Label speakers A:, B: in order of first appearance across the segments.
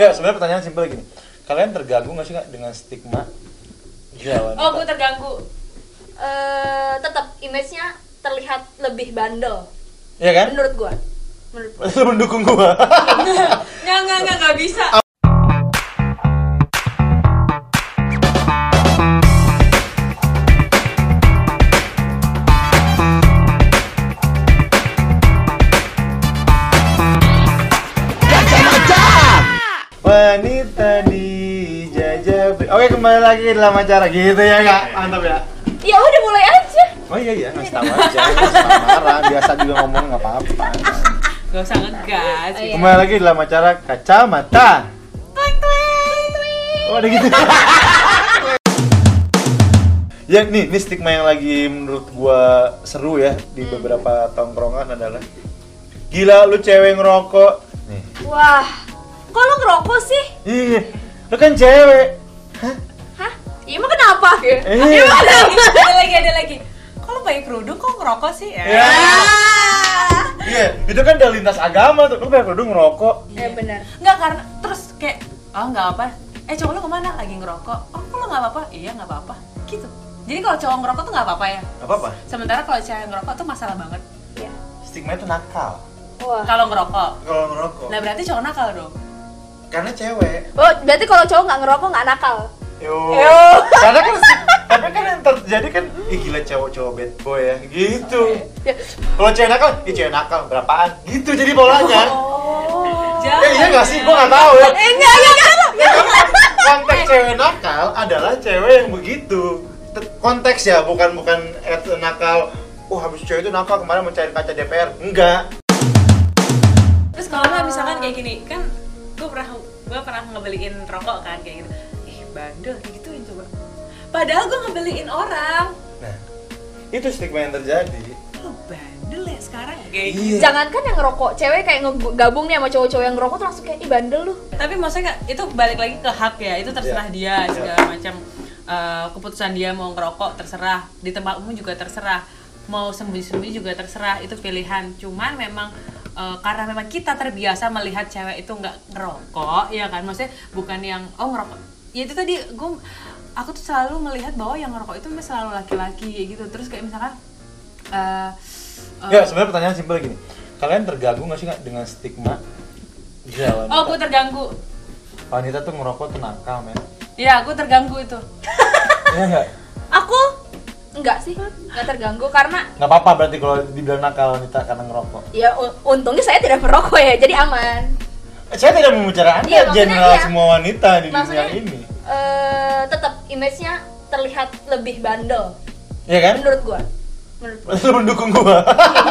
A: Ya sebenarnya pertanyaan simpel gini. Kalian terganggu nggak sih kak dengan stigma gila wanita?
B: Oh, gue terganggu.
C: eh tetap image-nya terlihat lebih bandel
A: Iya kan?
C: menurut gua menurut gua.
A: Lu mendukung gua.
B: Nggak, nggak, nggak, nggak bisa.
A: wanita di jajabri. Oke kembali lagi dalam acara gitu ya kak. Mantap ya.
C: ya udah mulai aja
A: Oh iya iya ngasih tahu aja. nggak usah marah. Biasa juga ngomong nggak apa-apa.
B: Gak usah ngegas.
C: Oh, iya.
A: Kembali lagi dalam acara kacamata. Oh, ada gitu. ya nih, nih stigma yang lagi menurut gua seru ya di beberapa tongkrongan adalah gila lu cewek ngerokok. Nih.
C: wah kok lo ngerokok sih
A: Iya. Lu kan cewek.
C: hah ya emang kenapa
A: Eh.
C: Ya, emang kenapa?
B: ada lagi, ada lagi. Kok lu pakai kerudung, kok ngerokok sih?
A: Ya. Iya, itu kan dari lintas agama tuh. Lu kayak kudu ngerokok.
C: eh benar
B: Nggak, karena terus kayak, oh nggak apa. Eh cowok lu kemana? Lagi ngerokok. Oh kok lu nggak apa-apa? Iya nggak apa-apa. Gitu. Jadi kalau cowok ngerokok tuh nggak apa-apa ya.
A: Apa-apa.
B: Sementara kalau cewek ngerokok tuh masalah banget.
C: ya.
A: Stigma itu nakal.
C: wah
B: Kalau ngerokok.
A: Kalau ngerokok.
B: Nah berarti cowok nakal dong.
A: Karena cewek.
C: oh berarti kalau cowok nggak ngerokok nggak nakal
A: Yo.
C: Yo.
A: Karena kan tapi kan yang terjadi kan ih gila cowok-cowok bad boy ya gitu.
C: ya.
A: Kalau cewek nakal, ih cewek nakal berapaan? Gitu jadi polanya.
C: oh
A: Eh iya nggak sih? Gua nggak tahu ya.
B: Iya,
C: eh enggak enggak enggak, enggak
A: Konteks cewek nakal adalah cewek yang begitu. Te- Konteks ya, bukan bukan eh, nakal. Oh, habis cewek itu nakal kemarin mencari kaca DPR. Enggak.
B: Terus kalau nggak misalkan kayak gini, kan gue pernah gue pernah ngebeliin rokok kan kayak gitu. Ih bandel gituin coba. Padahal gue ngebeliin orang.
A: Nah, itu stigma yang terjadi.
B: Lu bandel ya sekarang kayak gitu.
A: Iya.
C: jangankan yang ngerokok cewek kayak ngegabung nih sama cowok-cowok yang ngerokok tuh langsung kayak ih bandel lu
B: Tapi maksudnya nggak- itu balik lagi ke hak ya, itu terserah
A: Iya.
B: dia segala macam Eh, keputusan dia mau ngerokok terserah di tempat umum juga terserah mau sembunyi-sembunyi juga terserah itu pilihan cuman memang eh, karena memang kita terbiasa melihat cewek itu nggak ngerokok ya kan maksudnya bukan yang oh ngerokok ya itu tadi gue aku tuh selalu melihat bahwa yang ngerokok itu memang selalu laki-laki kayak gitu terus kayak misalkan eh, eh,
A: Ya, sebenarnya pertanyaan simpel gini. Kalian terganggu nggak sih nggak dengan stigma? Gila, wanita.
B: oh gue terganggu
A: wanita tuh ngerokok tuh nakal, men.
B: ya aku terganggu itu
A: Iya nggak?
C: aku enggak sih enggak terganggu karena
A: Nggak apa-apa berarti kalau dibilang nakal wanita karena ngerokok.
C: ya u- untungnya saya tidak merokok ya jadi aman
A: Saya tidak membicara Anda
C: Iya, maksudnya
A: general
C: iya.
A: semua wanita di dunia
C: Maksudnya-
A: ini.
C: eh tetap image-nya terlihat lebih bandel
A: Iya kan?
C: menurut gua menurut gua
A: Lu mendukung gua.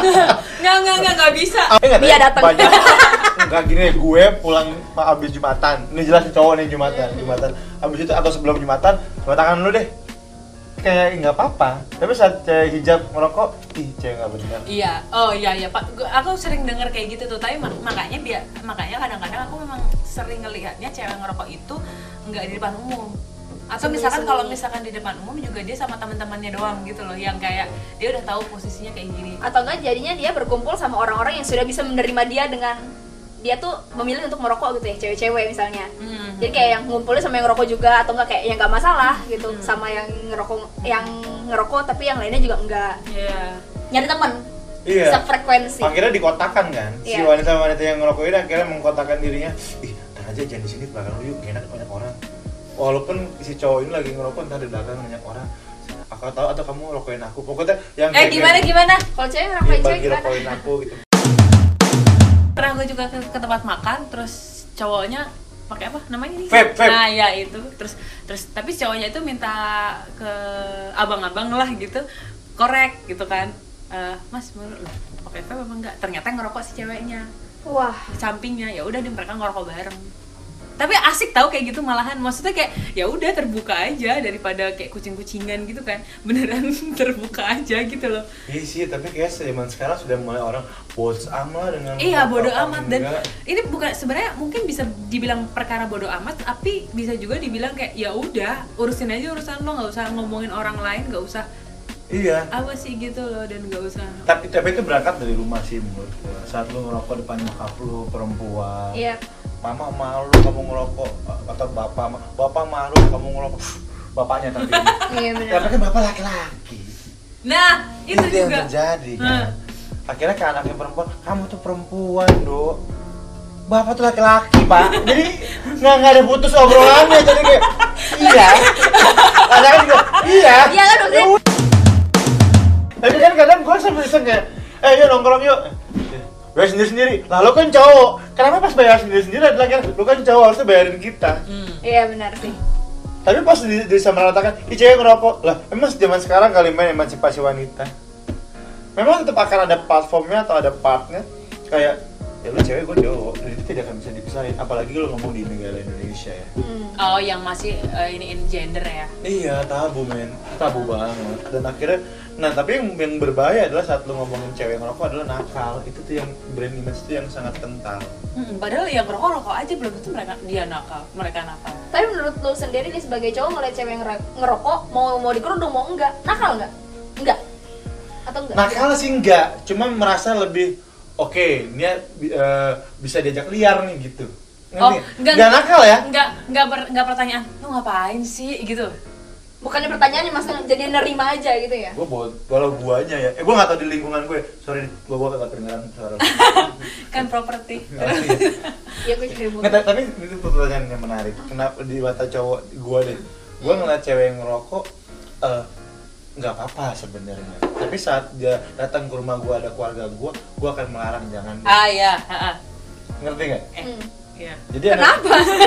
A: Iya
B: nggak nggak nggak nggak bisa
A: Apa enggak
C: Dia Iya. datang.
A: Banyak. Enggak gini deh, gue pulang ma- abis Jumatan. Ini jelas nih cowok nih Jumatan,
C: Iya.
A: Jumatan. Abis itu atau sebelum Jumatan, coba tangan lu deh. Kayak nggak apa-apa. Tapi saat cewek hijab ngerokok, ih cewek nggak benar.
B: Iya, oh iya iya Pak, Gua- aku sering dengar kayak gitu tuh, tapi mak- makanya biar makanya kadang-kadang aku memang sering ngelihatnya cewek ngerokok itu nggak di depan umum. Atau misalkan kalau misalkan di depan umum juga dia sama teman-temannya doang gitu loh, yang kayak dia udah tahu posisinya kayak gini.
C: atau enggak jadinya dia berkumpul sama orang-orang yang sudah bisa menerima dia dengan dia tuh memilih untuk merokok gitu ya cewek-cewek misalnya
B: Hmm.
C: jadi kayak yang ngumpulnya sama yang ngerokok juga atau enggak kayak yang enggak masalah gitu
A: Hmm.
C: sama yang ngerokok yang ngerokok tapi yang lainnya juga enggak
B: Iya.
C: nyari teman
A: Iya.
C: sefrekuensi
A: Akhirnya dikotakan kan, si
C: Iya.
A: wanita-wanita yang ngerokok ini akhirnya mengkotakan dirinya. Ih, ntar aja jangan di sini belakang lu yuk, enak banyak orang. Walaupun si cowok ini lagi ngerokok ntar di belakang banyak orang. Aku tahu atau kamu rokokin aku. Pokoknya yang gitu.
B: Eh gimana gimana?
C: kalau cewek
A: Dia
C: ngerokokin cewek
A: Iya, bagi
C: gimana
A: rokokin aku gitu.
B: Pernah gue juga ke, ke tempat makan, terus cowoknya pakai apa namanya nih?
A: Vape, vape.
B: Nah ya itu, terus terus tapi cowoknya itu minta ke abang-abang lah gitu, korek gitu kan. Eh, mas, menurut lah, pakai vape memang enggak? Ternyata ngerokok si ceweknya
C: wah
B: di sampingnya ya udah dia mereka ngerokok bareng tapi asik tau kayak gitu malahan maksudnya kayak ya udah terbuka aja daripada kayak kucing-kucingan gitu kan beneran terbuka aja gitu loh
A: Iya sih, tapi kayak zaman sekarang sudah mulai orang bodoh amat dengan
B: iya bodoh
A: apa-apa
B: amat dan
A: enggak.
B: ini bukan sebenarnya mungkin bisa dibilang perkara bodoh amat tapi bisa juga dibilang kayak ya udah urusin aja urusan lo nggak usah ngomongin orang lain nggak usah
A: iya.
B: apa sih gitu loh dan nggak usah
A: Tapi tapi itu berangkat dari rumah sih menurut gua. Saat lu ngerokok depan nyokap lu perempuan.
C: Iya.
A: mama malu kamu ngerokok atau bapak ma- bapak malu kamu ngerokok bapaknya tapi
C: iya
A: tapi
C: benar
A: kan bapak laki-laki
B: Nah, itu,
A: yang
B: juga.
A: terjadi kan
B: Nah.
A: akhirnya ke anaknya perempuan kamu tuh perempuan do bapak tuh laki-laki pak jadi nggak nggak ada putus obrolannya jadi kayak iya kadang kan juga iya
C: Iya kan, maksudnya-
A: Ya udah. tapi kan kadang gue sambil iseng kayak eh yuk nongkrong yuk Eh, bayar sendiri sendiri lah lo kan cowok kenapa pas bayar sendiri sendiri adalah kan lo kan cowok harusnya bayarin kita
B: Hmm.
C: iya benar sih
A: tapi pas di, bisa meratakan, ih cewek ngerokok lah emang zaman sekarang kali main emansipasi wanita memang tetap akan ada platformnya atau ada partnya kayak ya lu cewek gue cowok dan itu tidak akan bisa dipisahin apalagi lu ngomong di negara Indonesia ya
C: Hmm.
B: Oh, yang masih ini in gender ya.
A: iya tabu men tabu banget dan akhirnya nah tapi yang, yang berbahaya adalah saat lu ngomongin cewek ngerokok adalah nakal itu tuh yang brand image itu yang sangat kental
B: Hmm, padahal yang rokok rokok aja belum tentu mereka dia nakal, mereka nakal.
C: tapi menurut lo sendiri nih sebagai cowok ngeliat cewek ngero- ngerokok mau mau dikerudung mau enggak nakal enggak enggak atau enggak
A: nakal Nah, sih enggak cuma merasa lebih oke dia bi- eh, bisa diajak liar nih gitu
B: Oh,
A: Ngerti? Nggak nakal ya
B: Enggak, enggak ber, enggak pertanyaan. Lu ngapain sih gitu?
C: bukannya pertanyaannya mas jadi nerima aja gitu ya
A: gue buat kalau guanya ya eh gue nggak tau di lingkungan gue sorry gue gue kagak kedengeran suara gue.
B: Kan properti.
A: Nggak ngerti ya.
C: iya gue juga
A: Nggak, ta- tapi itu pertanyaan yang menarik kenapa di mata cowok gue deh gue ngeliat cewek yang ngerokok eh, nggak apa-apa sebenarnya tapi saat dia datang ke rumah gue ada keluarga gue gue akan melarang jangan
B: ah ya, heeh.
A: ngerti nggak
B: Eh.
C: Hmm.
B: Iya.
A: jadi ada-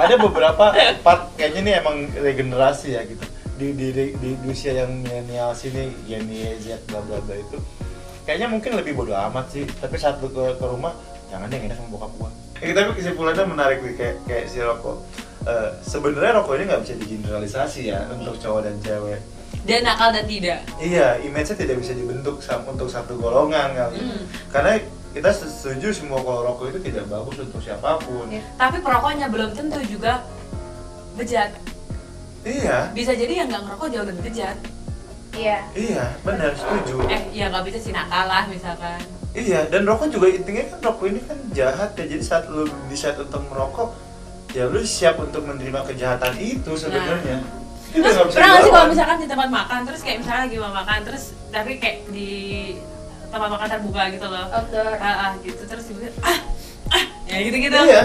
A: ada beberapa part kayaknya nih emang regenerasi ya gitu di di di, di- di usia yang milenial sini Gen Y, Z bla bla bla itu kayaknya mungkin lebih bodo amat sih tapi saat lu ke, ke rumah jangan deh enak sama bokap gua Eh, tapi kesimpulannya menarik nih kayak kayak si rokok Eh, sebenarnya rokok ini nggak bisa digeneralisasi ya untuk cowok dan cewek
B: Dia nakal dan tidak.
A: Iya, image-nya tidak bisa dibentuk sam- untuk satu golongan kali.
B: Hmm.
A: Karena kita setuju semua kalau rokok itu tidak bagus untuk siapapun.
C: Iya.
B: Tapi perokoknya belum tentu juga bejat.
A: Iya,
B: Bisa jadi yang nggak ngerokok jauh lebih bejat.
C: iya
A: iya, benar setuju.
B: Eh, ya nggak bisa sih nakal lah misalkan.
A: Iya, dan rokok juga intinya kan rokok ini kan jahat ya. Jadi saat lu decide untuk merokok, ya lu siap untuk menerima kejahatan itu sebenarnya. Itu
B: Nah.
A: nggak bisa kan?
B: Terus pernah nggak sih
A: dilawan.
B: kalau misalkan di tempat makan terus kayak misalnya lagi mau makan terus tapi kayak di tempat makan terbuka gitu loh.
C: outdoor
B: ah, ah, gitu terus tiba ah ah ya gitu gitu
A: Iya.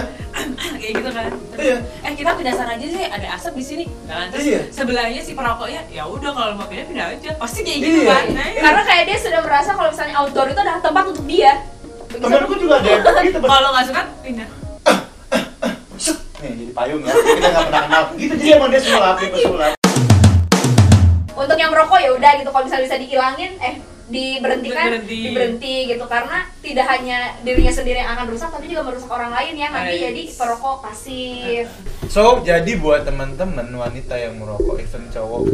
B: kayak gitu kan terus,
A: Iya.
B: eh kita pindahan aja sih ada asap di sini kan terus
A: Iya.
B: sebelahnya si perokoknya ya udah kalau mau pindah pindah aja pasti kayak gitu
A: Iya.
B: kan nah, iya.
C: karena kayak dia sudah merasa kalau misalnya outdoor itu adalah tempat untuk dia
A: Temenku juga ada yang gitu, Bang.
B: kalau nggak suka pindah
A: Set, nih jadi payung ya. Kita nggak pernah kenal. Gitu jadi emang dia sulap, dia pesulap.
C: untuk yang merokok ya udah gitu kalau misalnya bisa dihilangin eh diberhentikan
B: Berhenti.
C: diberhenti gitu karena tidak hanya dirinya sendiri yang akan rusak tapi juga merusak orang lain yang nanti
B: Nice.
C: jadi perokok pasif
A: So, jadi buat teman-teman wanita yang merokok, even cowok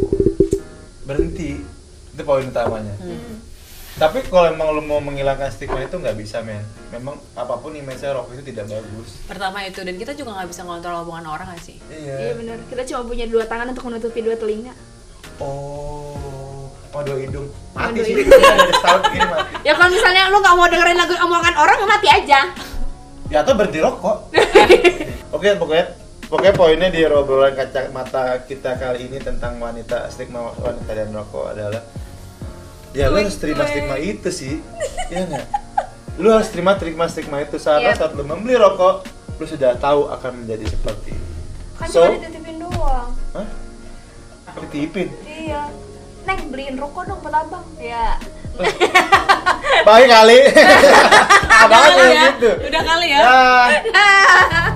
A: berhenti itu poin utamanya.
C: Hmm.
A: Tapi kalau emang lu mau menghilangkan stigma itu nggak bisa men. Memang apapun image rokok itu tidak bagus.
B: pertama itu dan kita juga nggak bisa ngontrol omongan orang nggak sih
C: iya benar kita cuma punya dua tangan untuk menutupi dua telinga
A: Oh, madu hidung mati
C: Madu
A: sih.
C: hidung.
A: Ada setahun begini mati.
C: ya kalau misalnya lu nggak mau dengerin lagu omongan orang lu mati aja
A: Ya atau berhenti rokok. Oke, pokoknya pokoknya poinnya di obrolan kacamata kita kali ini tentang wanita stigma wanita dan rokok adalah ya lu harus terima stigma itu sih. Iya nggak? Lu harus terima stigma stigma itu karena
C: Iya.
A: saat lu membeli rokok lu sudah tahu akan menjadi seperti ini.
C: kan
A: So-
C: cuma dititipin doang
A: Hah? Ditipin.
C: iya neng beliin rokok dong buat abang ya
A: Baik kali. Abang
B: udah kali
A: tuh
B: ya
A: gitu.
B: udah kali ya
A: Dah.